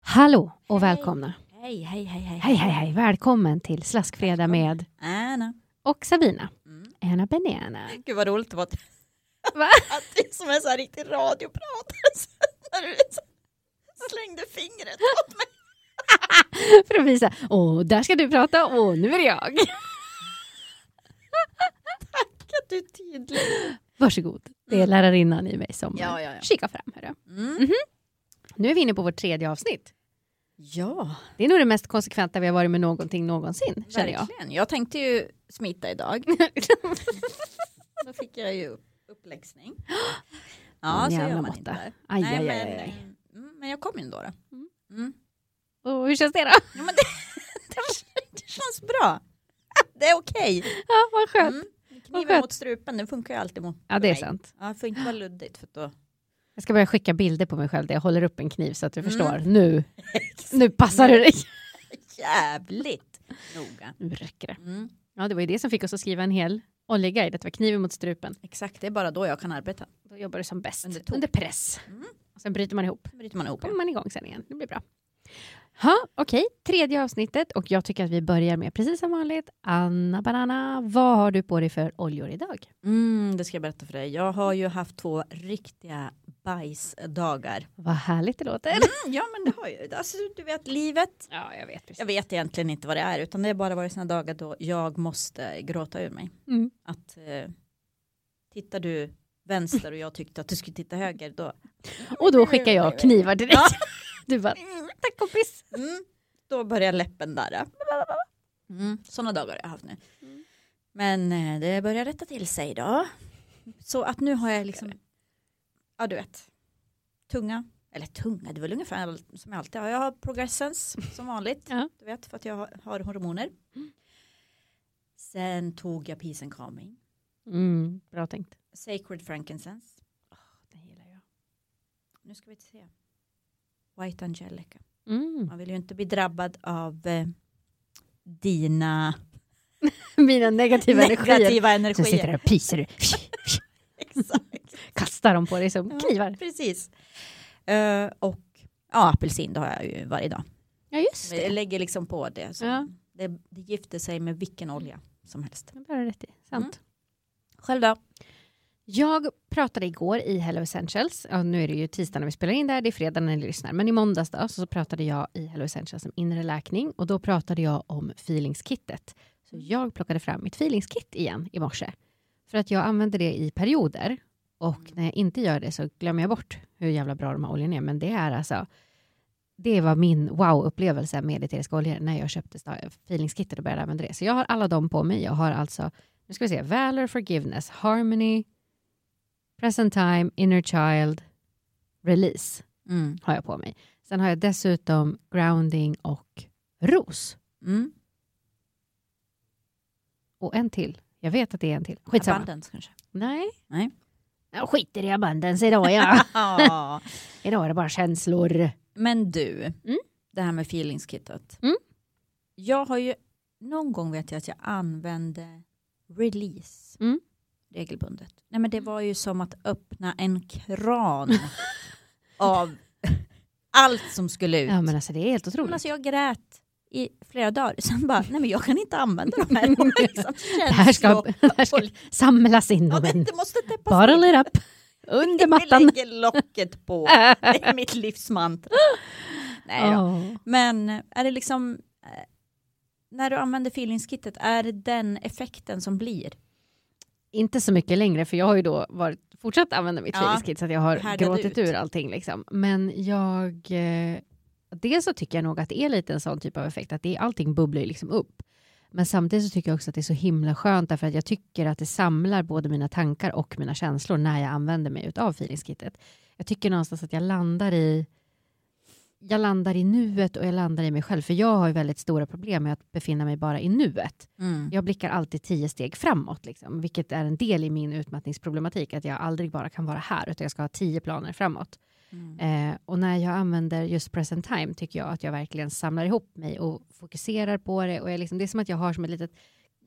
Hallå och välkomna. Hej, hej, hej, hej. Hej, hej, hej. Välkommen till Slaskfredag med Anna. och Sabina. Mm. Anna Benena. Gud vad roligt det var att, Va? att det som är så här riktig radioprat. alltså, När du så- slängde fingret åt mig. För att visa, åh, där ska du prata och nu är det jag. Att du är tydlig. Varsågod. Det är lärarinnan i mig som Mm. Ja, ja, ja. kikar fram. Hörru. Mm. Mhm. Nu är vi inne på vårt tredje avsnitt. Ja, Det är nog det mest konsekventa vi har varit med någonting någonsin, känner jag. verkligen. Jag tänkte ju smita idag. Då fick jag ju upp- uppläxning. Ja, så Jävla gör man måtta. inte. Aj, Aj, aj, aj, aj, aj. Men, mm, men jag kom ju ändå. Då. Mm. Och hur känns det då? Ja, men det, det, det känns bra. Det är okej. Ja, vad skönt. Mm. Kniven skönt. mot strupen, den funkar ju alltid mot Ja, det är mig. sant. Ja, det får inte vara luddigt för då... Jag ska börja skicka bilder på mig själv där jag håller upp en kniv så att du Mm. förstår. Nu, nu passar du dig. Jävligt noga. Nu räcker det. Mm. Ja, det var ju det som fick oss att skriva en hel oljeguide, att det var kniven mot strupen. Exakt, det är bara då jag kan arbeta. Då jobbar du som bäst, Under under, tok. press. Mm. Och sen bryter man ihop, Sen bryter man ihop. kommer man igång sen igen. Det blir bra. Ha, okej, tredje avsnittet och jag tycker att vi börjar med precis som vanligt. Anna Banana, vad har du på dig för oljor idag? Mm, det ska jag berätta för dig. Jag har ju haft två riktiga bajsdagar. Vad härligt det låter. Mm, ja, men det har ju... Alltså, du vet, livet. Ja, jag vet precis. Jag vet egentligen inte vad det är, utan det har bara varit sådana dagar då jag måste gråta ur mig. Mm. Att eh, tittar du vänster och jag tyckte att du skulle titta höger, då... Och då skickar jag knivar direkt. Ja. Du bara, tack kompis. Mm, då börjar läppen darra. Mm, sådana dagar har jag haft nu. Mm. Men eh, det börjar rätta till sig idag. Så att nu har jag liksom, ja du vet, tunga, eller tunga, det är väl ungefär allt som jag alltid har. Jag har progressens som vanligt, Ja. du vet, för att jag har- har hormoner. Sen tog jag peace and calming, Mm, bra tänkt. sacred frankincense, Den gillar jag. nu ska vi se, white angelica. Mm. Man vill ju inte bli drabbad av eh, dina Mina negativa, energier. negativa Så sitter energier. där och pyser du. Exakt. Kastar dem på dig som knivar. Precis. Eh, och ja, apelsin, det har jag ju varje dag. Ja, just Men det. Jag lägger liksom på det. Så Ja. det. Det gifter sig med vilken olja som helst. Det har du rätt i. Sant. Mm. Själv då? Jag pratade igår i Hello Essentials, och nu är det ju tisdag när vi spelar in det här, det är fredag när ni lyssnar, men i måndags då, så, så pratade jag i Hello Essentials om inre läkning och då pratade jag om feelingskittet. Så jag plockade fram mitt feelingskit igen i morse för att jag använder det i perioder och när jag inte gör det så glömmer jag bort hur jävla bra de här oljorna är, men det är alltså det var min wow-upplevelse med eteriska oljor när jag köpte sta- feelingskittet och började använda det. Så jag har alla dem på mig. Jag har alltså, nu ska vi se, Valor, Forgiveness, Harmony, Present Time, Inner Child, Release Mm. har jag på mig. Sen har jag dessutom Grounding och Ros. Mm. Och en till. Jag vet att det är en till. Skitsamma. Abundance kanske. Nej. Nej. Jag skiter i abundance idag ja. Ja. idag är det bara känslor. Men du, Mm. det här med feelingskittet. Mm. Jag har ju, någon gång vet jag att jag använde release Mm. regelbundet. Nej men det var ju som att öppna en kran av allt som skulle ut. Ja men alltså det är helt Men otroligt. alltså jag grät i flera dagar, sen bara, nej men jag kan inte använda de här liksom, Det här ska, känslor. det här ska samlas in Ja, om det, en det måste täppas bottle till. it up. Under Vi mattan. lägger locket på. Det är mitt livsmantra. Nej då. Åh. Men är det liksom, eh, när du använder feelingskittet, är det den effekten som blir? inte så mycket längre för jag har ju då varit, fortsatt använda mitt Ja. feelingskit så att jag har Härdade gråtit ut. ur allting liksom. Men jag, eh, dels så tycker jag nog att det är lite en sån typ av effekt att det, är- allting bubblar ju liksom upp. Men samtidigt så tycker jag också att det är så himla skönt därför att jag tycker att det samlar både mina tankar och mina känslor när jag använder mig utav feelingskittet. Jag tycker någonstans att jag landar i jag landar i nuet och jag landar i mig själv för jag har ju väldigt stora problem med att befinna mig bara i nuet. Mm. Jag blickar alltid tio steg framåt, liksom, vilket är en del i min utmattningsproblematik, att jag aldrig bara kan vara här, utan jag ska ha tio planer framåt. Mm. Eh, och när jag använder just present time tycker jag att jag verkligen samlar ihop mig och fokuserar på det. Och jag liksom, det är som att jag har som ett litet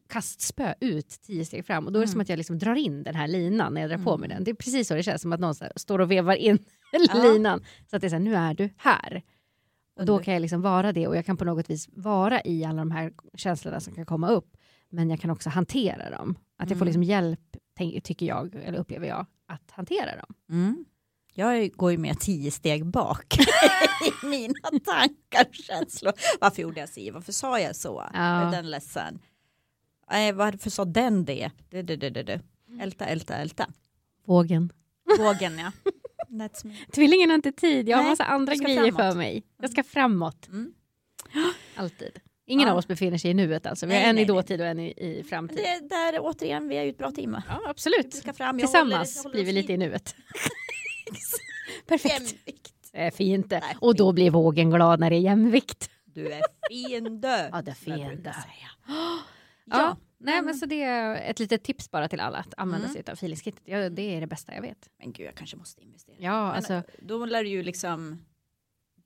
kastspö ut tio steg fram och då är det Mm. som att jag liksom drar in den här linan när jag drar på Mm. mig den. Det är precis så det känns, som att någon så här står och vevar in Ja. linan. Så att det är så här, nu är du här. Och då kan jag liksom vara det och jag kan på något vis vara i alla de här känslorna som kan komma upp. Men jag kan också hantera dem. Att jag får Mm. liksom hjälp, tänk- tycker jag, eller upplever jag, att hantera dem. Mm. Jag går ju med tio steg bak i mina tankar och känslor. Varför gjorde jag så? Varför sa jag så? Ja. Är den ledsen? Nej, varför sa den det? Du, du, du, du, du. Älta, älta, älta. Vågen. Vågen ja. That's me. Tvillingen har inte tid, jag har Nej, massa andra jag ska grejer framåt. för mig. Jag ska framåt. Mm. Alltid. Ingen Ja. av oss befinner sig i nuet alltså. Vi har Nej, en nej, i dåtid och en i, i framtid. Det är där återigen, vi är ju ett bra team. Ja, Vi absolut. ska fram, jag Tillsammans håller- jag håller blir vi oss lite i nuet. Perfekt. Jämvikt. Det är fint det. Nej, Och då fint. blir vågen glad när det är jämvikt. Du är fiende. Ja, det är som jag brukar fiende. säga. Ja, Mm. Ja, nej, men men- så det är ett litet tips bara till alla att använda Mm. sig av feelingskittet. Ja, det är det bästa jag vet. men gud jag kanske måste investera. Ja, Men, alltså, Då lär du ju liksom,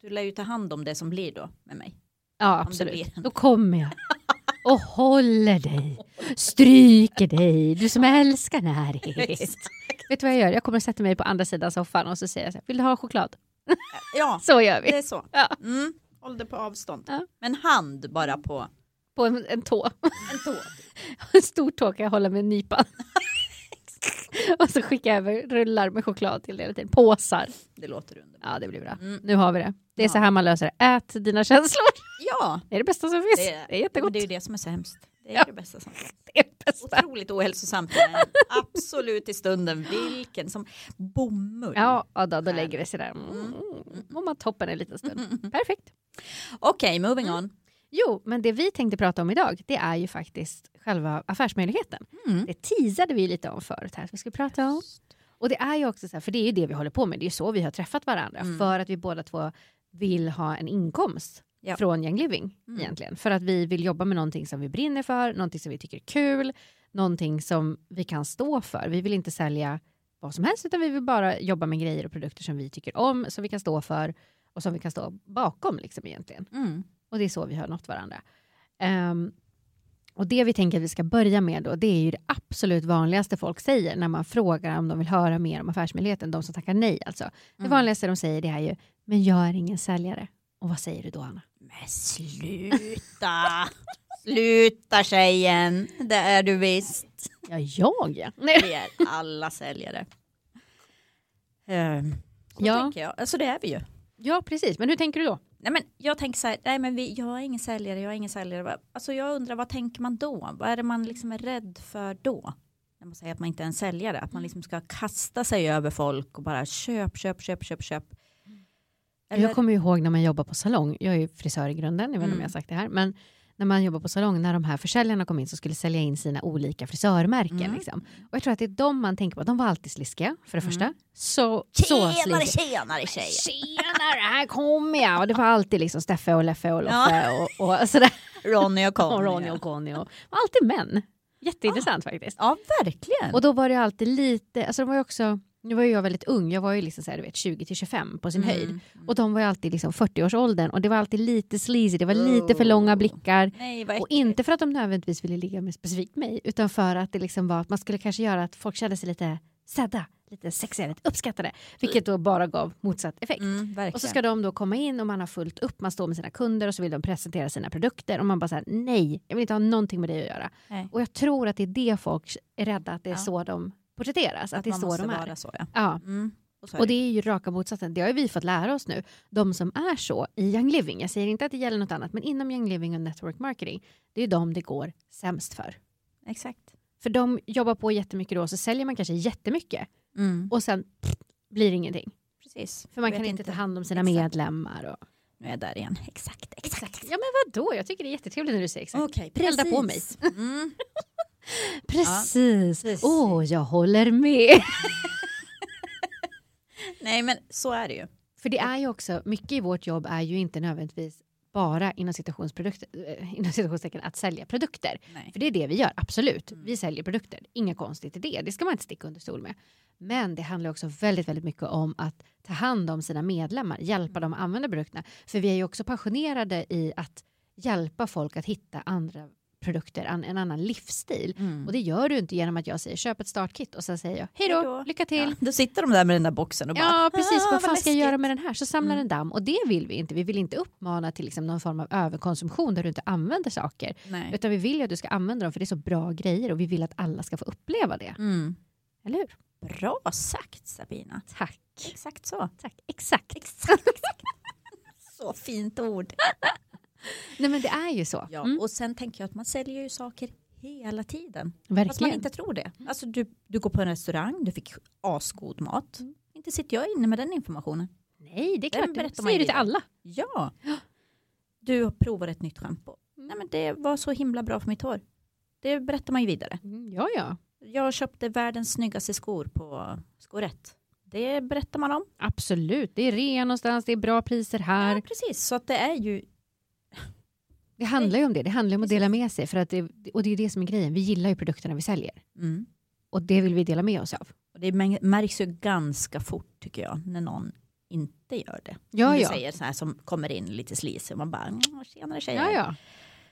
du lär ju ta hand om det som blir då med mig. ja det absolut. blir en- Då kommer jag och håller dig, stryker dig, du som älskar närhet. Vet du vad jag gör? Jag kommer att sätta mig på andra sidan soffan och så säger jag så här, vill du ha choklad? Ja, Så gör det vi. är så. Ja. Mm. Håll det på avstånd. Ja. Men hand bara på På en, en tå, en tå. en stor tå kan jag hålla med nypan. och så skickar jag över rullar med choklad till dig hela tiden, påsar. Det låter underbart. Ja, det blir bra. Mm. Nu har vi det. Det är Ja. så här man löser det. Ät dina känslor. Ja, Det är det bästa som finns. Det Det är- är, men jättegott. det är ju det som är sämst. Det är Ja. det bästa som finns. Det är det bästa. Otroligt ohälsosamt. Men absolut i stunden. Vilken som bomull. Ja, ja, då, då lägger det sig där. Mm. Mm. Om man toppen en liten stund. Perfekt. Okej, moving on. Jo, men det vi tänkte prata om idag, det är ju faktiskt själva affärsmöjligheten. Mm. Det teasade vi lite om förut här, att vi skulle prata om. Och det är ju också så här, för det är ju det vi håller på med, det är ju så vi har träffat varandra, Mm. för att vi båda två vill ha en inkomst Ja. från Young Living Mm. egentligen. För att vi vill jobba med någonting som vi brinner för, någonting som vi tycker är kul, någonting som vi kan stå för. Vi vill inte sälja vad som helst, utan vi vill bara jobba med grejer och produkter som vi tycker om, som vi kan stå för och som vi kan stå bakom liksom egentligen. Mm. Och det är så vi har nått varandra. Ehm, och det vi tänker att vi ska börja med då, det är ju det absolut vanligaste folk säger när man frågar om de vill höra mer om affärsmöjligheten, de som tackar nej alltså. Det Mm. vanligaste de säger det är ju, men jag är ingen säljare. Och vad säger du då Anna? Men Äh, sluta! sluta tjejen! Det är du visst. Ja, jag ja. Nej. Vi är alla säljare. Ehm, Så Ja. tänker jag. Alltså det är vi ju. Ja, precis. Men hur tänker du då? Nej, men jag tänker så här, nej men vi, jag är ingen säljare, jag är ingen säljare. Va- Alltså jag undrar vad tänker man då? Vad är det man liksom är rädd för då? När man säger att man inte är en säljare, att Mm. man liksom ska kasta sig över folk och bara köp, köp, köp, köp, köp. Eller, Jag kommer ju ihåg när man jobbar på salong, jag är ju frisör i grunden, jag vet inte om Mm. jag har sagt det här, men när man jobbar på salong, när de här försäljarna kom in så skulle sälja in sina olika frisörmärken. Mm. Liksom. Och jag tror att det är de man tänker på, de var alltid sliskiga för det Mm. första. Så, så tjenare, sliskiga. tjenare tjejer! Tjenare, här kommer jag! Och det var alltid liksom Steffe och Leffe och Loffe och, och sådär. Ronny och Conny. Och Ronny och Conny och och alltid män. Jätteintressant faktiskt. Ja, verkligen. Och då var det alltid lite, alltså de var ju också, nu var ju jag väldigt ung, jag var ju liksom så här, du vet 20 till 25 på sin höjd. Mm. Och de var ju alltid liksom 40-årsåldern och det var alltid lite sleazy, det var lite för Oh. långa blickar. Nej, vad Och inte för att de nödvändigtvis ville ligga med specifikt mig, utan för att det liksom var att man skulle kanske göra att folk kände sig lite sedda, lite sexiga, lite uppskattade. Vilket då bara gav motsatt effekt. Mm, verkligen. Och så ska de då komma in och man har fullt upp, man står med sina kunder och så vill de presentera sina produkter och man bara säger nej, jag vill inte ha någonting med dig att göra. Nej. Och jag tror att det är det folk är rädda, att det är Ja. så de porträtteras, att, det är man så måste de är. vara så, ja. Ja. Mm. Och, så är Och det är ju raka motsatsen, det har ju vi fått lära oss nu, de som är så i Young Living, jag säger inte att det gäller något annat, men inom Young Living och Network Marketing, det är ju de det går sämst för. Exakt. För de jobbar på jättemycket då, så säljer man kanske jättemycket Mm. och sen pff, blir det ingenting. Precis. För man Vet kan inte ta hand om sina Exakt. medlemmar. Och... Nu är jag där igen. Exakt, exakt. Ja men vadå, jag tycker det är jättetrevligt när du säger exakt. Okej, Elda på precis. Mm. Precis. precis. Åh, jag håller med. Nej, men så är det ju. För det är ju också, mycket i vårt jobb är ju inte nödvändigtvis bara inom, situationsprodukter, eh, inom situationstecken att sälja produkter. Nej. För det är det vi gör, absolut. Mm. Vi säljer produkter, inga konstigt i det. Det ska man inte sticka under stol med. Men det handlar också väldigt, väldigt mycket om att ta hand om sina medlemmar, Mm. hjälpa dem att använda produkterna. För vi är ju också passionerade i att hjälpa folk att hitta andra produkter, an, en annan livsstil. Mm. Och det gör du inte genom att jag säger köp ett startkit och sen säger jag hej Hej då, då." lycka till. Ja, då sitter de där med den där boxen och bara Ja, precis. vad "Ah, fan ska jag läskigt." göra med den här? Så samlar Mm. den damm. Och det vill vi inte. Vi vill inte uppmana till liksom någon form av överkonsumtion där du inte använder saker. Nej. Utan vi vill ju att du ska använda dem för det är så bra grejer och vi vill att alla ska få uppleva det. Mm. Eller hur? Bra sagt Sabina. Tack. Exakt så. Tack. Exakt. Så fint ord. Nej men det är ju så. Ja, Mm. Och sen tänker jag att man säljer ju saker hela tiden. Fast man Verkligen. inte tror det. Alltså du, du går på en restaurang, du fick asgod mat. Mm. Inte sitter jag inne med den informationen. Nej, det är Den klart. Det berättar säger man du ju till vidare. alla. Ja. Du provar ett nytt schampo. Mm. Nej men det var så himla bra för mitt hår. Det berättar man ju vidare. Mm, ja, ja. Jag köpte världens snyggaste skor på Skorett. Det berättar man om. Absolut. Det är rea någonstans, det är bra priser här. Ja, precis. Så att det är ju... Det handlar ju om det. Det handlar ju om att dela med sig. För att det, och det är det som är grejen. Vi gillar ju produkterna vi säljer. Mm. Och det vill vi dela med oss av. Och det mäng- märks ju ganska fort tycker jag när någon inte gör det. Ja, Som du ja. säger så här som kommer in lite slisig och man bara "Mm, tjenare tjejer. Ja, ja.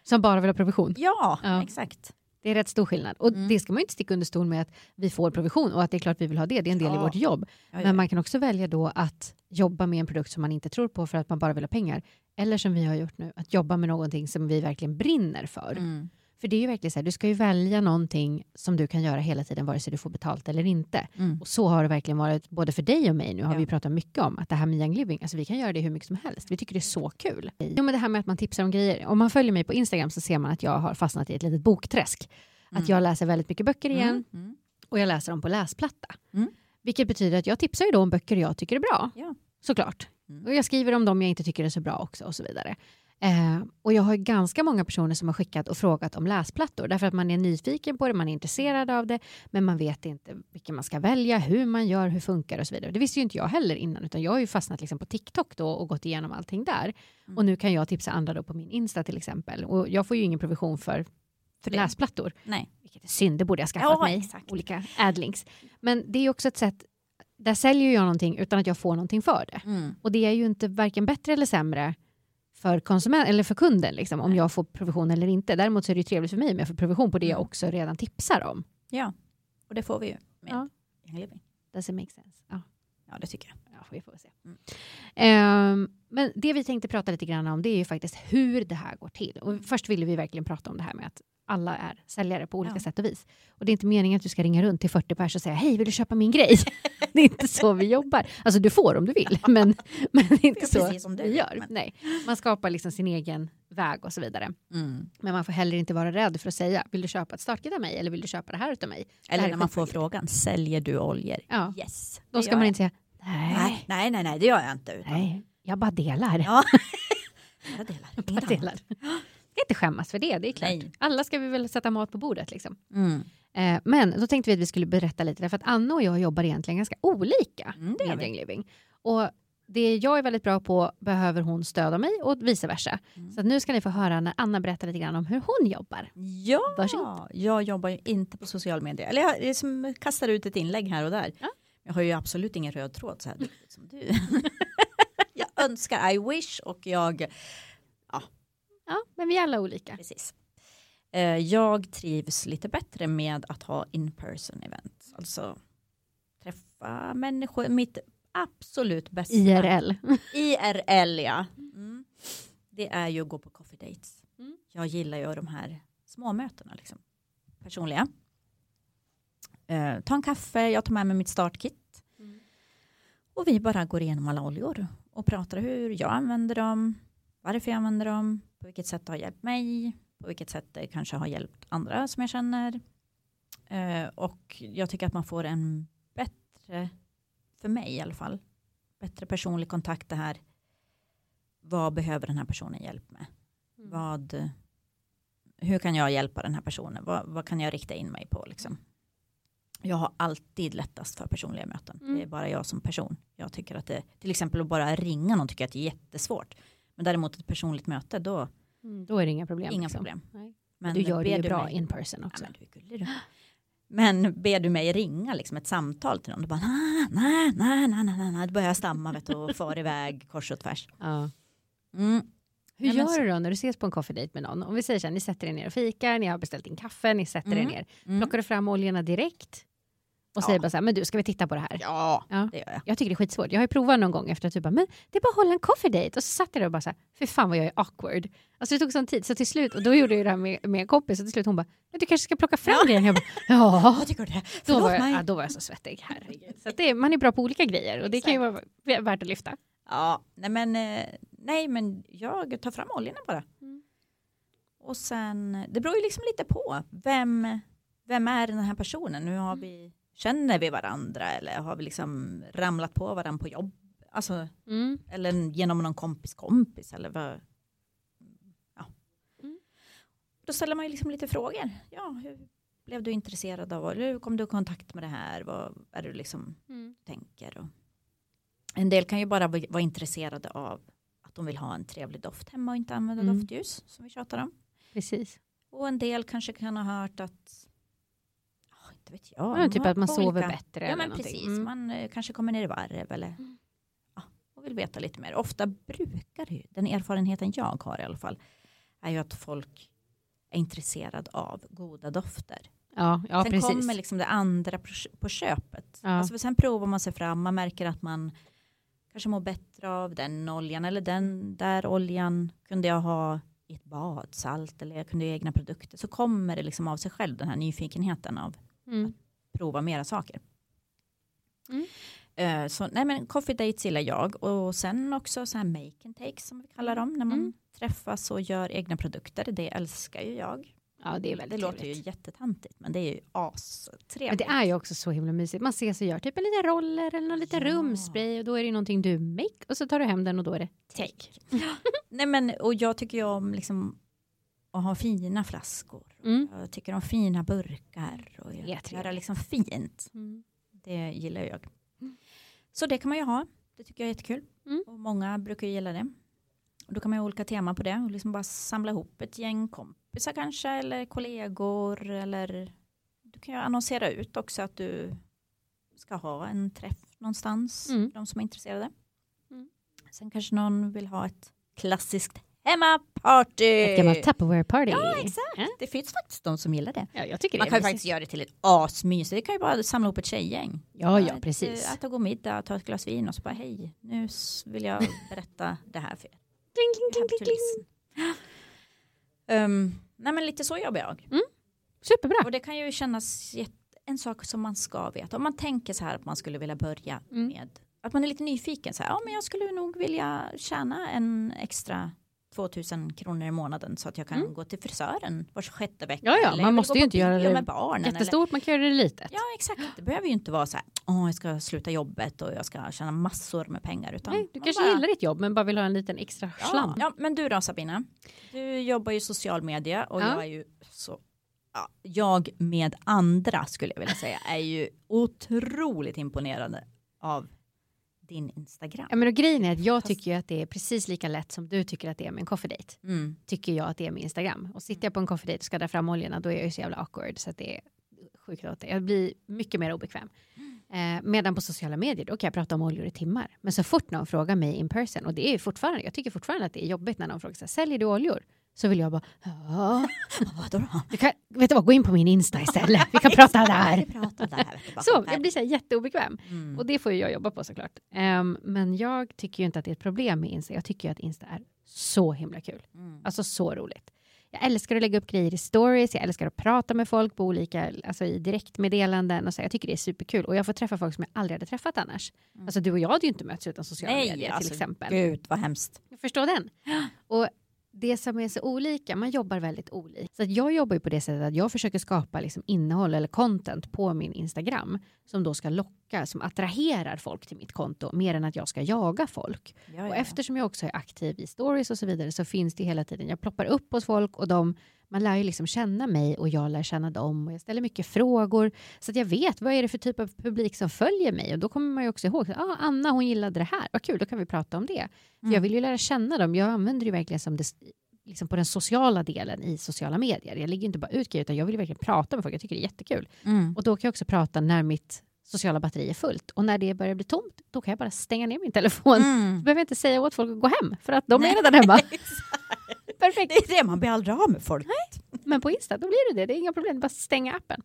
Som bara vill ha provision. Ja, Ja. exakt. Det är rätt stor skillnad. Och Mm. det ska man ju inte sticka under stol med att vi får provision och att det är klart vi vill ha det. Det är en del i Ja. vårt jobb. Ja, ja. Men man kan också välja då att jobba med en produkt som man inte tror på för att man bara vill ha pengar. Eller som vi har gjort nu, att jobba med någonting som vi verkligen brinner för. Mm. För det är ju verkligen så här, du ska ju välja någonting som du kan göra hela tiden vare sig du får betalt eller inte. Mm. Och så har det verkligen varit både för dig och mig nu har Ja. vi pratat mycket om att det här med young living, alltså vi kan göra det hur mycket som helst. Vi tycker det är så kul. Jo men det här med att man tipsar om grejer. Om man följer mig på Instagram så ser man att jag har fastnat i ett litet bokträsk. Att Mm. jag läser väldigt mycket böcker igen Mm. Mm. och jag läser dem på läsplatta. Mm. Vilket betyder att jag tipsar ju då om böcker jag tycker är bra. Ja. Såklart. Mm. Och jag skriver om dem jag inte tycker är så bra också och så vidare. Eh, och jag har ju ganska många personer som har skickat och frågat om läsplattor därför att man är nyfiken på det, man är intresserad av det men man vet inte vilken man ska välja, hur man gör, hur funkar och så vidare. Det visste ju inte jag heller innan utan jag har ju fastnat liksom på TikTok då och gått igenom allting där. Mm. Och nu kan jag tipsa andra då på min Insta till exempel och jag får ju ingen provision för, för det. läsplattor. Nej. Vilket är synd, det borde jag ha skaffat Ja, mig. exakt. Olika adlinks. Men det är också ett sätt, där säljer jag någonting utan att jag får någonting för det. Mm. Och det är ju inte varken bättre eller sämre för, konsument, eller för kunden, liksom, om Nej. jag får provision eller inte. Däremot så är det ju trevligt för mig om jag får provision på det jag också redan tipsar om. Ja, och det får vi ju med Ja. Young Living. Does it make sense? Ja, Ja, det tycker jag. ja vi får se. Mm. Ehm, men det vi tänkte prata lite grann om det är ju faktiskt hur det här går till. Mm. Och först ville vi verkligen prata om det här med att alla är säljare på olika Ja. sätt och vis. Och det är inte meningen att du ska ringa runt till 40 pers och säga hej, vill du köpa min grej? det är inte så vi jobbar. Alltså du får om du vill, men, men det är inte Ja, så precis som du vi vill, gör. men- Nej. Man skapar liksom sin egen väg och så vidare. Men man får heller inte vara rädd för att säga, vill du köpa ett startkit av mig eller vill du köpa det här utav mig? Det här Eller är när man får skitmycket. frågan, säljer du oljor? Ja, Yes. då det ska gör man jag. inte säga nej, Nej, nej, nej, nej, det gör jag inte. Utan nej, jag bara delar. Ja. jag delar. Bara Inget delar. Ska inte skämmas för det, det är klart. Nej. Alla ska vi väl sätta mat på bordet liksom. annat. Mm. Eh, men då tänkte vi att vi skulle berätta lite, därför att Anna och jag jobbar egentligen ganska olika Mm, det gör med vi. Young Living. Och det jag är väldigt bra på behöver hon stöd av mig och vice versa. Mm. Så att nu ska ni få höra när Anna berättar lite grann om hur hon jobbar. Ja, Varsågod. jag jobbar ju inte på social media. Eller jag liksom kastar ut ett inlägg här och där. Ja. Jag har ju absolut ingen röd tråd så här som du. jag önskar, I wish och jag Ja, men vi är alla olika. Precis. Eh, Jag trivs lite bättre med att ha in person event. Alltså träffa människor. Mitt absolut bästa. IRL. IRL ja. Mm. Det är ju att gå på coffee dates. Mm. Jag gillar ju de här småmötena liksom. Personliga. Eh, ta en kaffe, jag tar med mig mitt startkit. Mm. Och vi bara går igenom alla oljor och pratar hur jag använder dem, varför jag använder dem, på vilket sätt det har hjälpt mig, på vilket sätt det kanske har hjälpt andra som jag känner. Eh, och jag tycker att man får en bättre, för mig i alla fall, bättre personlig kontakt det här. Vad behöver den här personen hjälp med? Mm. Vad, hur kan jag hjälpa den här personen? Vad, vad kan jag rikta in mig på? Liksom? Jag har alltid lättast för personliga möten. Mm. Det är bara jag som person. Jag tycker att det, till exempel att bara ringa någon tycker jag att det är jättesvårt. Men däremot ett personligt möte, då Mm, Då är det inga problem. inga liksom. problem. Nej. Men Du gör det ber ju du bra mig- in person också. Ja, men, du är gullig, du. men ber du mig ringa liksom ett samtal till någon, då bara nej, nej, nej, nej, nej, nej, då börjar jag stamma vet du, och far iväg kors och tvärs. Ja. Mm. Hur Nej, men gör så- du då när du ses på en coffee date med någon? Om vi säger så här, ni sätter er ner och fikar, ni har beställt in kaffe, ni sätter Mm. er ner. Mm. Plockar du fram oljorna direkt? Och Ja. säger bara så här, men du ska vi titta på det här? Ja, Ja. det gör jag. Jag tycker det är skitsvårt. Jag har ju provat någon gång efter att typ bara, men det är bara att hålla en coffee date. Och så satt jag där och bara så här, fy fan vad jag är awkward. Alltså det tog sån tid, så till slut, och då gjorde jag ju det här med, med en kompis, och till slut hon bara, men du kanske ska plocka fram grejen. Jag bara, ja. Vad tycker du? Då Förlåt var, jag, mig. ja, då var jag så svettig, herregud. Så att det, är- man är bra på olika grejer och det kan ju vara värt att lyfta. Ja, nej men, eh, nej men jag tar fram oljorna bara. Mm. Och sen, det beror ju liksom lite på vem, vem är den här personen? Nu har Mm. vi, känner vi varandra eller har vi liksom ramlat på varandra på jobb? Alltså, Mm. eller genom någon kompis kompis eller vad? Ja. Mm. Då ställer man ju liksom lite frågor. Ja, hur blev du intresserad av? Eller hur kom du i kontakt med det här? Vad är du liksom Mm. tänker. Och en del kan ju bara v- vara intresserade av att de vill ha en trevlig doft hemma och inte använda Mm. doftljus som vi tjatar om. Precis. Och en del kanske kan ha hört att, ja, inte vet jag. Ja, de typ har att man sover olika- bättre Ja eller men någonting. precis, Mm. man eh, kanske kommer ner i varv eller Mm. ja, och vill veta lite mer. Ofta brukar det ju, den erfarenheten jag har i alla fall, är ju att folk är intresserad av goda dofter. Ja, ja sen precis. kommer liksom det andra på- på köpet. Ja. Alltså, för sen provar man sig fram, man märker att man kanske mår bättre av den oljan eller den där oljan kunde jag ha i ett badsalt eller jag kunde göra egna produkter. Så kommer det liksom av sig själv den här nyfikenheten av Mm. prova mera saker. Mm. Eh, Så nej men coffee dates gillar jag och sen också så här make and take som vi kallar dem när man Mm. träffas och gör egna produkter. Det älskar ju jag. Ja, det är väldigt Mm, låter ju trevligt. jättetantigt men det är ju astrevligt. Men det är ju också så himla mysigt. Man ses och gör typ en liten roller eller någon liten Ja. rumspray och då är det ju någonting du make och så tar du hem den och då är det take. Nej men och jag tycker ju om liksom att ha fina flaskor. Mm. Jag tycker om fina burkar och Det är göra trevligt. liksom fint. Mm. Det gillar jag. Så det kan man ju ha. Det tycker jag är jättekul. Mm. Och många brukar ju gilla det. Och då kan man ju ha olika teman på det och liksom bara samla ihop ett gäng kompisar kanske eller kollegor eller du kan ju annonsera ut också att du ska ha en träff någonstans Mm. för de som är intresserade. Mm. Sen kanske någon vill ha ett klassiskt hemmaparty. Ett gammalt Tupperware party. Eh, Ja, exakt. Ja. Det finns faktiskt de som gillar det. Ja, jag tycker Man det kan är ju mysigt. faktiskt göra det till ett asmys. Det kan ju bara samla ihop ett tjejgäng. Ja, ja, Att, eh, precis. Att gå middag, ta ett glas vin och så bara hej, nu s- vill jag berätta det här för er. Kling, kling, kling, You have kling, to kling. listen. Ehm, nej men lite så jobbar jag. Superbra. Och det kan ju kännas jätte, en sak som man ska veta. Om man tänker så här att man skulle vilja börja Mm. med. Att man är lite nyfiken så här. Ja men jag skulle nog vilja tjäna en extra 2000 kronor i månaden så att jag kan Mm, gå till frisören var sjätte vecka. Ja, ja, Eller man jag vill måste gå ju på inte göra bio det med barnen. eller- Jättestort, man kan göra det litet. Ja exakt, det behöver ju inte vara så här, åh jag ska sluta jobbet och jag ska tjäna massor med pengar. Utan Nej, du man kanske bara- gillar ditt jobb men bara vill ha en liten extra ja. slant. ja men du då Sabina, du jobbar ju i social media och Ja. jag är ju så, ja, jag med andra skulle jag vilja säga är ju otroligt imponerande av din Instagram. Ja, men och grejen är att jag Fast- tycker ju att det är precis lika lätt som du tycker att det är med en coffee date. Mm. Tycker jag att det är med Instagram. Och sitter jag på en coffee date och ska dra fram oljorna då är jag ju så jävla awkward så att det är sjukt åt det. Jag blir mycket mer obekväm. Eh, medan på sociala medier då kan jag prata om oljor i timmar. Men så fort någon frågar mig in person och det är ju fortfarande, jag tycker fortfarande att det är jobbigt när någon frågar så här, säljer du oljor? Så vill jag bara, ja, Vadå då? du kan, vet du vad, gå in på min Insta istället, vi kan prata där. Vi pratar om det här. vet du, Så, bakom här. jag blir så här jätteobekväm. Mm. Och det får ju jag jobba på såklart. Ehm, men jag tycker ju inte att det är ett problem med Insta. Jag tycker ju att Insta är så himla kul. Mm. Alltså så roligt. Jag älskar att lägga upp grejer i stories, jag älskar att prata med folk på olika, alltså i direktmeddelanden och så. Jag tycker det är superkul och jag får träffa folk som jag aldrig hade träffat annars. Mm. Alltså du och jag hade ju inte mötts utan sociala Nej, medier alltså, till exempel. Gud vad hemskt. Jag förstår den. Och det som är så olika, man jobbar väldigt olika. Så att jag jobbar ju på det sättet att jag försöker skapa liksom innehåll eller content på min Instagram som då ska locka, som attraherar folk till mitt konto mer än att jag ska jaga folk. Ja, ja, ja. Och eftersom jag också är aktiv i stories och så vidare så finns det hela tiden, jag ploppar upp hos folk och de man lär ju liksom känna mig och jag lär känna dem och jag ställer mycket frågor så att jag vet vad är det för typ av publik som följer mig och då kommer man ju också ihåg, ah, Anna hon gillade det här, vad kul, då kan vi prata om det. För jag Mm. vill ju lära känna dem. Jag använder ju verkligen som det, liksom på den sociala delen i sociala medier. Jag lägger ju inte bara ut grejer utan jag vill ju verkligen prata med folk. Jag tycker det är jättekul. Mm. Och då kan jag också prata när mitt sociala batteri är fullt. Och när det börjar bli tomt, då kan jag bara stänga ner min telefon. Mm. Då behöver jag inte säga åt folk att gå hem för att de Nej. är redan hemma. Exakt. Perfekt. Det är det, man blir aldrig av med folk. Men på Insta, då blir det det. Det är inga problem, det är bara att stänga appen.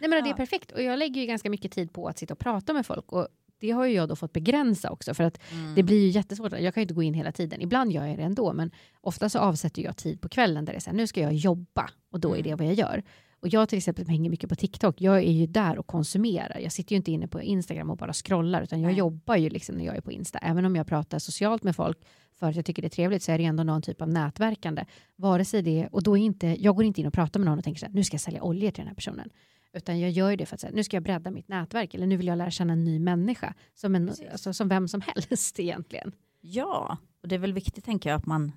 Nej, men Det är Ja. perfekt. Och jag lägger ju ganska mycket tid på att sitta och prata med folk. Och det har ju jag då fått begränsa också. För att Mm. det blir ju jättesvårt. Jag kan ju inte gå in hela tiden. Ibland gör jag det ändå. Men ofta så avsätter jag tid på kvällen där det är så här, nu ska jag jobba. Och då är det vad jag gör. Och jag till exempel hänger mycket på TikTok. Jag är ju där och konsumerar. Jag sitter ju inte inne på Instagram och bara scrollar. Utan jag Nej. jobbar ju liksom när jag är på Insta. Även om jag pratar socialt med folk för att jag tycker det är trevligt så är det ändå någon typ av nätverkande. Vare sig det, och då är inte, jag går inte in och pratar med någon och tänker så här, nu ska jag sälja oljor till den här personen. Utan jag gör ju det för att säga, nu ska jag bredda mitt nätverk eller nu vill jag lära känna en ny människa. Som, en, Precis. alltså, som vem som helst egentligen. Ja, och det är väl viktigt tänker jag att man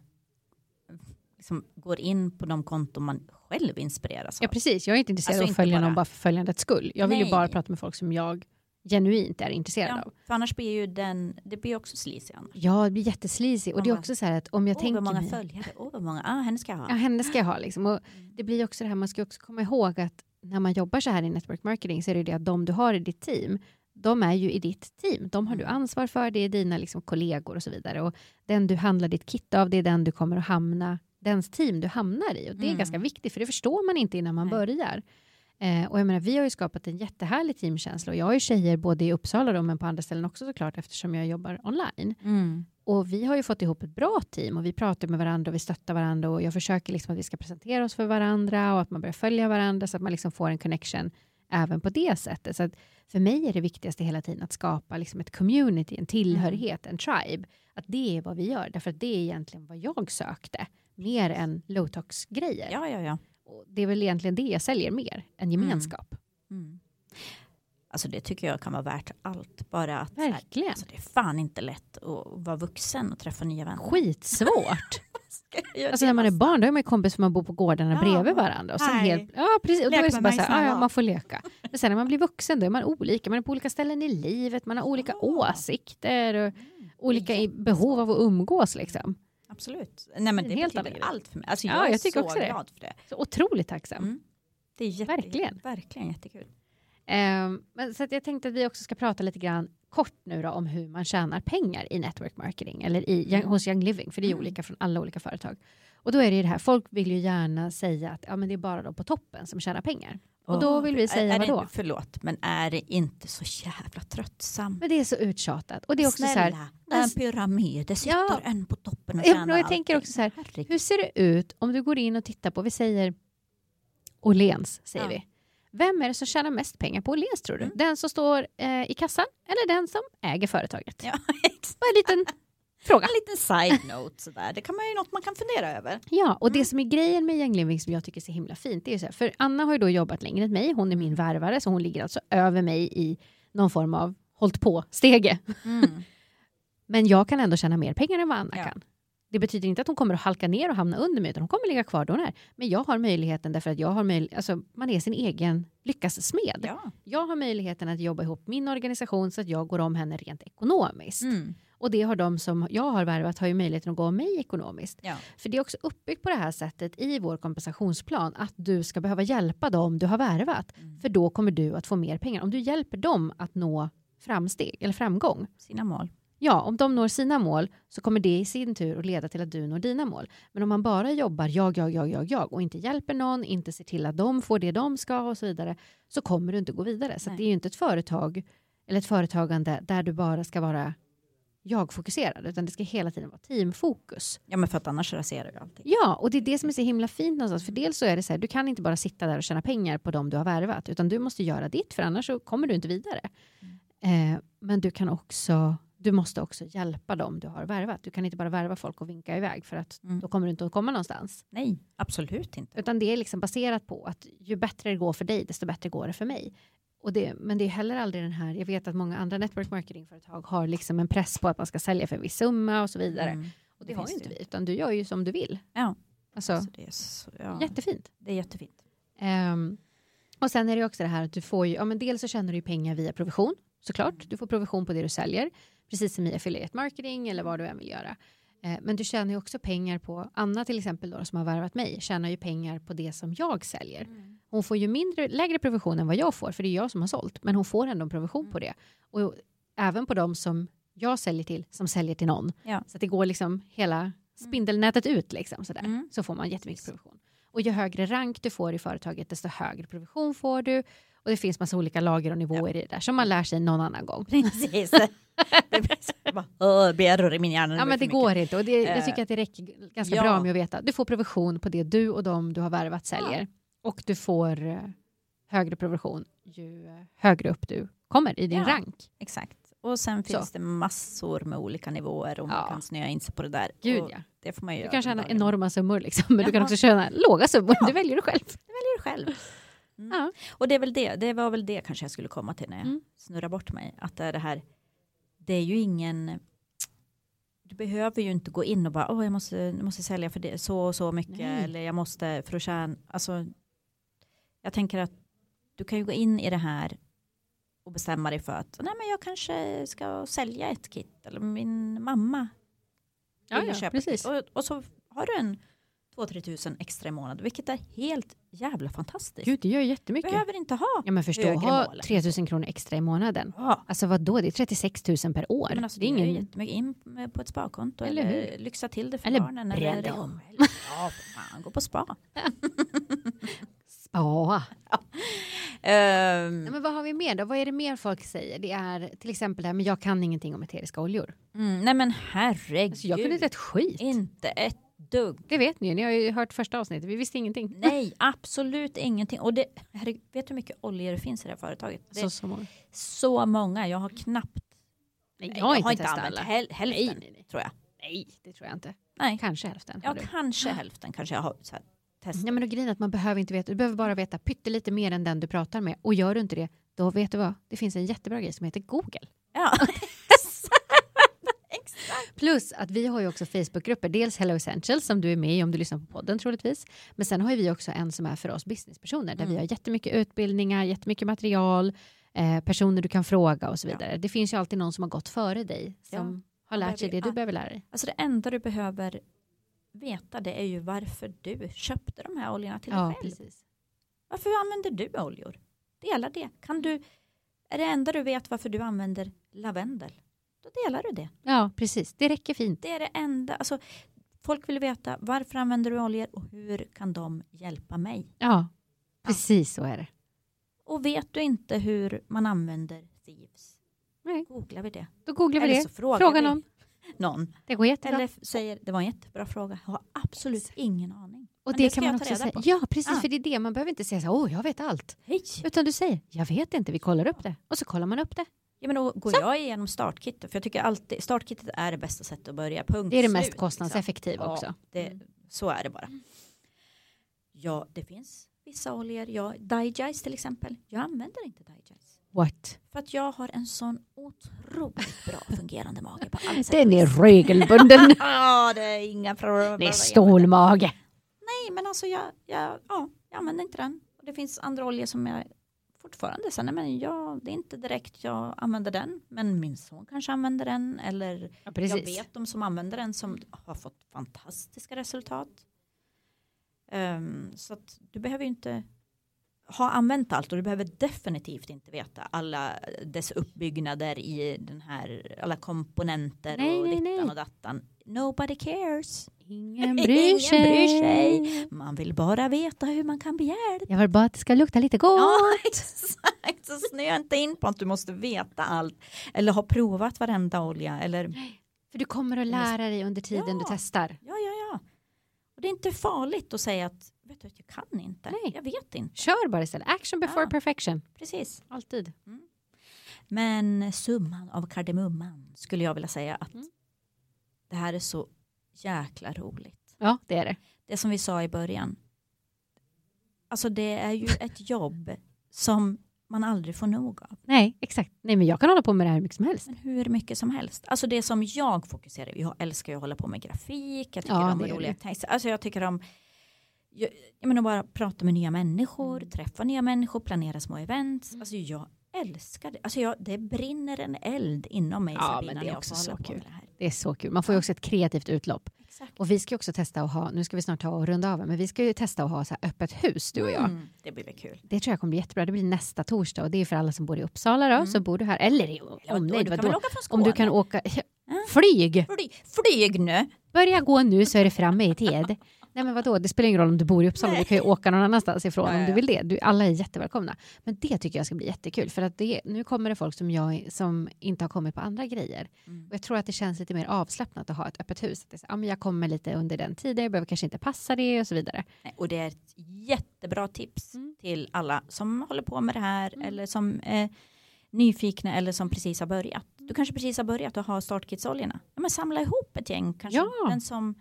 liksom går in på de konton man själv inspireras av. Ja precis, jag är inte intresserad Alltså, av att inte följa någon bara- bara för följandets skull. Jag vill ju Nej. bara prata med folk som jag genuint är intresserad Ja, av. för annars blir ju den, det blir också sleazy annars. Ja, det blir jätteslisig. Och Man det är bara, också så här att om jag Åh, tänker vad många mig- följare, åh vad många, ah, henne ska jag ha. Ja, henne ska jag ha liksom. Och Mm. det blir också det här, man ska också komma ihåg att när man jobbar så här i network marketing så är det ju det att de du har i ditt team, de är ju i ditt team. De har du Mm. ansvar för, det är dina liksom kollegor och så vidare. Och den du handlar ditt kit av, det är den du kommer att hamna, dens team du hamnar i. Och det är Mm. ganska viktigt, för det förstår man inte innan man Nej. börjar. Eh, och jag menar, vi har ju skapat en jättehärlig teamkänsla och jag har ju tjejer både i Uppsala då, men på andra ställen också såklart eftersom jag jobbar online. Mm. Och vi har ju fått ihop ett bra team och vi pratar med varandra och vi stöttar varandra och jag försöker liksom att vi ska presentera oss för varandra och att man börjar följa varandra så att man liksom får en connection även på det sättet. Så att för mig är det viktigaste hela tiden att skapa liksom ett community, en tillhörighet, en tribe. Att det är vad vi gör, därför att det är egentligen vad jag sökte mer än low tox grejer. Ja, ja, ja. Och det är väl egentligen det jag säljer mer, en gemenskap. Mm. Alltså det tycker jag kan vara värt allt. Bara att så här, Verkligen. alltså, det är fan inte lätt att vara vuxen och träffa nya vänner. Skitsvårt. Alltså när man är barn då är man ju kompis för man bor på gårdarna Ja. bredvid varandra. Och sen Nej. helt, ja, precis. Och då Lek är det med bara så mig här, ja, ja, snälla." man får leka. Men sen när man blir vuxen då är man olika. Man är på olika ställen i livet, man har olika Ja. Mm. åsikter och olika i- behov av att umgås. Liksom. Absolut. Nej men Det är det en helt betyder annan grej. allt för mig. Alltså, Ja, jag, jag är tycker så också det. glad för det. Så otroligt tacksam. Mm. Det är jätte, Verkligen. verkligen jättekul. Ehm, men så att jag tänkte att vi också ska prata lite grann kort nu då om hur man tjänar pengar i network marketing eller i, Mm. hos Young Living, för det är ju Mm. olika från alla olika företag. Och då är det ju det här, folk vill ju gärna säga att ja, men det är bara de på toppen som tjänar pengar. Och då Åh, vill vi säga är, är vadå? Det, förlåt, men är det inte så jävla tröttsamt? Men det är så uttjatat. Och det är också så här, Alltså- Snälla, det är en pyramid, det sitter Ja. en på toppen och Ja, tjänar men jag tänker allting. också så här, Herregud. hur ser det ut om du går in och tittar på, vi säger Åhléns, säger Ja. vi. Vem är det som tjänar mest pengar på Åhléns tror du? Mm. Den som står eh, i kassan eller den som äger företaget? Ja, exakt. Bara en liten fråga. en liten side note sådär. Det kan man ju något man kan fundera över. Ja, och det Mm. som är grejen med Young Living som jag tycker är så himla fint, det är ju så här, för Anna har ju då jobbat längre än mig, hon är Mm. min värvare, så hon ligger alltså över mig i någon form av hållt på-stege. Men jag kan ändå tjäna mer pengar än vad Anna Ja. kan. Det betyder inte att hon kommer att halka ner och hamna under mig, utan hon kommer ligga kvar där hon är. Men jag har möjligheten därför att jag har möj- alltså, man är sin egen lyckas smed. Ja. Jag har möjligheten att jobba ihop min organisation så att jag går om henne rent ekonomiskt. Mm. Och det har de som jag har värvat har ju möjligheten att gå om mig ekonomiskt. Ja. För det är också uppbyggt på det här sättet i vår kompensationsplan att du ska behöva hjälpa dem du har värvat. Mm. För då kommer du att få mer pengar. Om du hjälper dem att nå framsteg eller framgång Sina mål. Ja, om de når sina mål så kommer det i sin tur att leda till att du når dina mål. Men om man bara jobbar jag, jag, jag, jag, jag och inte hjälper någon, inte ser till att de får det de ska ha och så vidare, så kommer du inte gå vidare. Så att Nej. det är ju inte ett företag eller ett företagande där du bara ska vara jag-fokuserad, utan det ska hela tiden vara teamfokus. Ja men för att annars raserar du allting. Ja, och det är det som är så himla fint någonstans. För dels så är det så här, du kan inte bara sitta där och tjäna pengar på dem du har värvat, utan du måste göra ditt, för annars så kommer du inte vidare. Mm. Eh, men du kan också, du måste också hjälpa dem du har värvat. Du kan inte bara värva folk och vinka iväg, för att Mm. då kommer du inte att komma någonstans. Nej, absolut inte. Utan det är liksom baserat på att ju bättre det går för dig, desto bättre går det för mig. Och det, men det är heller aldrig den här, jag vet att många andra network marketing-företag har liksom en press på att man ska sälja för en viss summa och så vidare. Mm. Och det, det har finns ju det inte ju vi, utan du gör ju som du vill. Ja. Alltså, Så det, är så, ja. jättefint. det är jättefint. Ehm, och sen är det ju också det här att du får ju, ja men dels så tjänar du ju pengar via provision såklart. Mm. Du får provision på det du säljer, precis som i affiliate marketing eller vad du än vill göra. Eh, men du tjänar ju också pengar på, Anna till exempel då som har värvat mig, tjänar ju pengar på det som jag Mm. säljer. Hon får ju mindre, lägre provision än vad jag får, för det är jag som har sålt, men hon får ändå en Mm. provision på det. Och även på de som jag säljer till, som säljer till någon. Ja. Så att det går liksom hela spindelnätet ut liksom sådär, Mm. så får man jättemycket provision. Och ju högre rank du får i företaget desto högre provision får du. Och det finns massa olika lager och nivåer i det där som man lär sig någon annan gång. Precis. det blir så, jag bara, "Åh, det blir error i min hjärna. Ja, blir men det för mycket." går inte. Och det, jag Eh, tycker att det räcker g- ganska ja. bra med att veta. Du får provision på det du och de du har värvat säljer. Och du får eh, högre provision ju eh, högre upp du kommer i din Ja. rank. Exakt. Och sen finns Så. det massor med olika nivåer och man Ja. kan snöa in sig på det där. Gud och ja. Det får man ju Du göra. kan tjäna dagligen. enorma summor liksom, men du kan Ja. också tjäna låga summor. Ja. Du väljer det själv. väljer själv. Mm. Ja. Och det är väl det, det var väl det kanske jag skulle komma till när jag Mm. snurrar bort mig. Att det är det här, det är ju ingen, du behöver ju inte gå in och bara, åh jag måste, jag måste sälja för det, så och så mycket, Nej. eller jag måste för att tjäna, alltså jag tänker att du kan ju gå in i det här och bestämma dig för att, nej men jag kanske ska sälja ett kit, eller min mamma vill köpa ett precis. kit. Och, och så har du en 2-3 tusen extra i månaden, vilket är helt jävla fantastiskt Gud, det gör ju jättemycket. behöver inte ha. Ja, men förstå, högre ha mål. 3 000 kronor extra i månaden. Ja. Alltså vad då? det är 36 000 per år. Men alltså, det är ingen... ingen... jättemycket in med- på ett sparkonto Eller eller, hur? lyxa till det för Eller barnen. bränn dem. Ja, för fan, gå på spa. Ja. Ehm, Nej, men vad har vi mer då? Vad är det mer folk säger? Det är till exempel det här, men jag kan ingenting om eteriska oljor. mm, nej men herregud. Alltså, jag kunde inte ett skit. Inte ett dugg. Det vet ni ju, ni har ju hört första avsnittet, vi visste ingenting. Nej, absolut ingenting. Och det, herregud, vet du hur mycket oljor det finns i det här företaget? Det Så, är så många. Nej, så många. Jag har knappt. jag har inte testat använt alla. häl, hälften, Nej, nej, nej. tror jag. Nej, det tror jag inte. Nej, Kanske hälften. har ja, du. Mm. kanske hälften kanske jag har så här, testat. Nej, men då grejen är att man behöver inte veta, du behöver bara veta pyttelite mer än den du pratar med. Och gör du inte det, då vet du vad, det finns en jättebra grej som heter Google. Ja. Plus att vi har ju också Facebookgrupper, dels Hello Essentials som du är med i om du lyssnar på podden troligtvis. Men sen har ju vi också en som är för oss businesspersoner där Mm. vi har jättemycket utbildningar, jättemycket material, eh, personer du kan fråga och så vidare. Det finns ju alltid någon som har gått före dig som har lärt sig det behöver ju du behöver lära dig. Alltså det enda du behöver veta det är ju varför du köpte de här oljorna till dig Ja, själv. precis. Varför använder du oljor? Dela det. Kan Mm. du, är det enda du vet varför du använder lavendel? Då delar du det. Ja, precis. Det räcker fint. Det är det enda. Alltså, folk vill veta varför använder du oljor och hur kan de hjälpa mig? Ja, precis så är det. Och vet du inte hur man använder Thieves? Nej. Googlar vi det. Då googlar vi Eller det. så frågar Fråga vi någon. någon. Det går jättebra. Eller f- säger det var en jättebra fråga. Jag har absolut ingen aning. och men det, det ska kan man jag ta också reda säga. på. Ja, precis. Ah. För det är det. Man behöver inte säga så här, åh, jag vet allt. Hej! Utan du säger, jag vet inte, vi kollar upp det. Och så kollar man upp det. Ja, men då går jag igenom startkittet, för jag tycker alltid startkittet är det bästa sättet att börja. Punkt Det är det slut, mest liksom. kostnadseffektiva Mm. också. Det, Så är det bara. Ja, det finns vissa oljor. Jag, Digize till exempel. Jag använder inte Digize. What? För att jag har en sån otroligt bra fungerande mage på alla sätt. Den är regelbunden. Ja, det är inga problem. Det är stålmage. Nej, men alltså jag, jag, ja, jag använder inte den. Och det finns andra oljor som jag fortfarande sen, nej, men jag, det är inte direkt jag använder den, men min son kanske använder den eller Ja, jag vet de som använder den som har fått fantastiska resultat. Ehm, så att du behöver ju inte ha använt allt och du behöver definitivt inte veta alla dess uppbyggnader i den här, alla komponenter Nej, och nej, dittan nej. och dattan. Nobody cares. Ingen Ingen bryr sig. bryr sig. Man vill bara veta hur man kan begära Jag vill bara att det ska lukta lite gott. Ja, exakt. Så snöa inte in på att du måste veta allt eller ha provat varenda olja eller För du kommer att lära dig under tiden Ja. du testar. ja, ja, ja. Och det är inte farligt att säga att vet du, att jag kan inte, Nej. jag vet inte, Kör bara istället. Action before Ja. perfection. precis. Alltid. Men summan av kardemumman skulle jag vilja säga att Mm. det här är så jäkla roligt. Ja, det är det. Det som vi sa i början. Alltså det är ju ett jobb som man aldrig får nog av. Nej, exakt. Nej, men jag kan hålla på med det här hur mycket som helst. Men hur mycket som helst. Alltså det som jag fokuserar på. Jag älskar ju att hålla på med grafik. Jag tycker Ja, om det gör roliga du. texter. Alltså jag tycker om jag, jag menar bara prata med nya människor, Mm. träffa nya människor, planera små events. Alltså jag älskar det. Alltså jag, det brinner en eld inom mig Ja, Sabina, men det är när jag också får så hålla på kul. med det här. Det är så kul. Man får ju också ett kreativt utlopp. Exakt. Och vi ska ju också testa att ha, nu ska vi snart ta och runda av, men vi ska ju testa att ha så här öppet hus du och jag. Mm, det blir väl kul. Det tror jag kommer bli jättebra. Det blir nästa torsdag och det är för alla som bor i Uppsala då, så bor du här. Eller i Och- och omnejd, du Mm. kan vadå? väl åka från Skåne? Om du kan åka, Flyg! Fly, flyg nu! Börja gå nu så är det framme i tid. Nej men vadå, det spelar ingen roll om du bor i Uppsala, du kan ju åka någon annanstans ifrån Ja, ja, om du ja. vill det. Du, alla är jättevälkomna. Men det tycker jag ska bli jättekul för att det, nu kommer det folk som jag som inte har kommit på andra grejer. Mm. Och jag tror att det känns lite mer avslappnat att ha ett öppet hus. Att det är så, ja, men jag kommer lite under den tiden, jag behöver kanske inte passa det och så vidare. Nej, Eh, Och det är ett jättebra tips Mm. till alla som håller på med det här Mm. eller som är nyfikna eller som precis har börjat. Mm. Du kanske precis har börjat och har startkitsoljorna. Ja, men samla ihop ett gäng kanske. Ja. Den som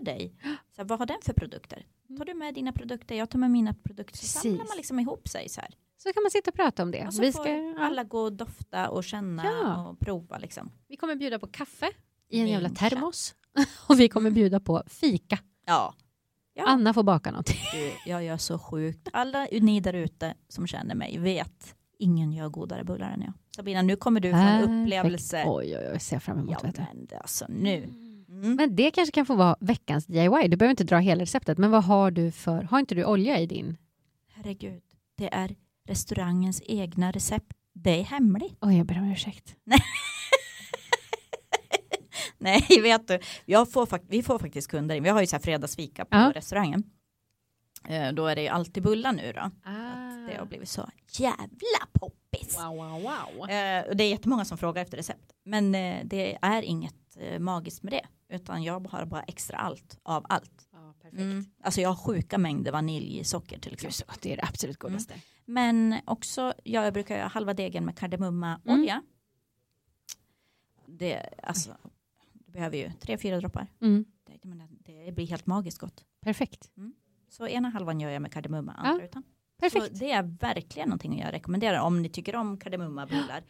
dig. Så här, vad har den för produkter? Tar du med dina produkter? Jag tar med mina produkter. Så samlar Mm. Precis. man liksom ihop sig så här. Så kan man sitta och prata om det. Och så Vi, får ska, ja, alla gå och dofta och känna Ja. och prova liksom. vi kommer bjuda på kaffe i en jävla Mincha. termos. Och vi kommer bjuda på fika. Ja. Ja. Anna får baka någonting. Du, jag gör så sjukt. Alla ni där ute som känner mig vet, ingen gör godare bullar än jag. Sabina, nu kommer du få en Perfekt. upplevelse. Oj, oj, oj, ser jag fram emot. Ja, vet du. men det- alltså nu. Mm. Men det kanske kan få vara veckans DIY. Du behöver inte dra hela receptet, men vad har du för... Har inte du olja i din? Herregud, det är restaurangens egna recept. Det är hemligt. Oj, jag ber om ursäkt. Nej, vet du. Jag får, fak- vi får faktiskt kunder in. Vi har ju så här fredagsfika på Ja. restaurangen. Eh, Då är det ju alltid bullar nu då. Ah. Att det har blivit så jävla poppis. Wow, wow, wow. Eh, och det är jättemånga som frågar efter recept. Men eh, det är inget eh, magiskt med det. Utan jag har bara extra allt av allt. Ja, perfekt. Mm. Alltså jag har sjuka mängder vaniljsocker till Gud, exempel. så gott. Det är det absolut godaste. Men också, ja, jag brukar göra halva degen med Mm. kardemummaolja. Det, alltså, du behöver ju tre, fyra droppar. Mm. Det, jag menar, det blir helt magiskt gott. Perfekt. Så ena halvan gör jag med kardemumma, andra utan. Perfekt. Så det är verkligen någonting jag rekommenderar om ni tycker om kardemummabullar.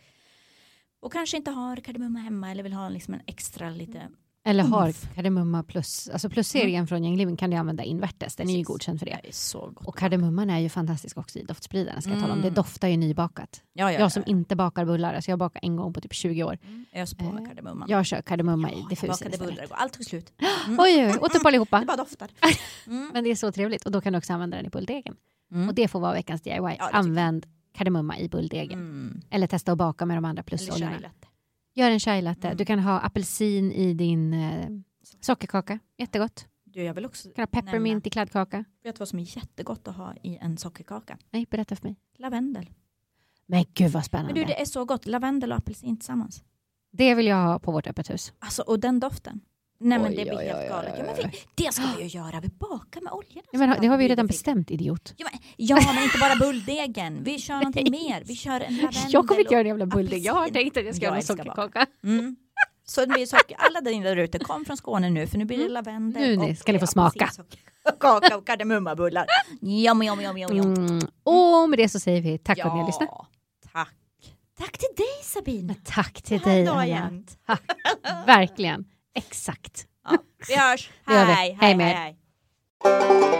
Och kanske inte har kardemumma hemma eller vill ha liksom en extra Mm. lite. Eller Umf. har kardemumma plus... Alltså plusserien från Gängliving kan du använda invärtes. Den är ju Precis. godkänd för det. är så gott. Och kardemumman är ju fantastisk också i doftspridaren. Ska jag tala om. Det Mm. doftar ju nybakat. Ja, ja, ja. Jag som inte bakar bullar, alltså jag bakar en gång på typ 20 år. Ös på med Eh, kardemumma. Jag kör kardemumma i diffusen Bakade istället. bullar, igår. allt tog slut. Mm. Oj, oj, oj, åt upp Det allihopa. bara doftar. Mm. Men det är så trevligt och då kan du också använda den i bulldegen. Mm. Och det får vara veckans DIY. tycker jag. Använd kardemumma i bulldegen. Mm. Eller testa att baka med de andra Eller chai plusoljorna. latte. Gör en chai latte. Mm. Du kan ha apelsin i din eh, sockerkaka. Jättegott. Du, jag vill också Du kan ha peppermint nämna, i kladdkaka. vet du vad som är jättegott att ha i en sockerkaka? Nej, berätta för mig. Lavendel. Men gud vad spännande. Men du, det... det är så gott. Lavendel och apelsin tillsammans. vill jag ha på vårt öppet hus. Alltså, och den doften. Nej men Oj, det blir oj, oj, helt galet. Ja, men oj, oj. vi- det ska vi ju göra, vi bakar med olja. Ja, men, det har vi ju redan bestämt. bestämt idiot. Ja men, ja, men inte bara bulldegen, vi kör någonting mer. Vi kör en lavendel. Jag kommer inte och- göra en jävla bulldeg. Jag har apelsin. tänkt att jag ska Jag göra en älskar sockerkaka. Mm. Så det blir socker. Alla där inne där ute, kom från Skåne nu för nu blir det Mm. lavendel. Nu, nu och ska ni få smaka. apelsinsocker- Kaka och kardemummabullar. Jom, jom, jom, jom, jom. Mm. Och med det så säger vi tack för att ni har lyssnat. Tack. Tack till dig Sabina. Men tack till Det här är dig, dag Anna. igen. Verkligen. Exakt. Ja, vi hörs. Det gör vi. Hej, Hej hej, med er. hej.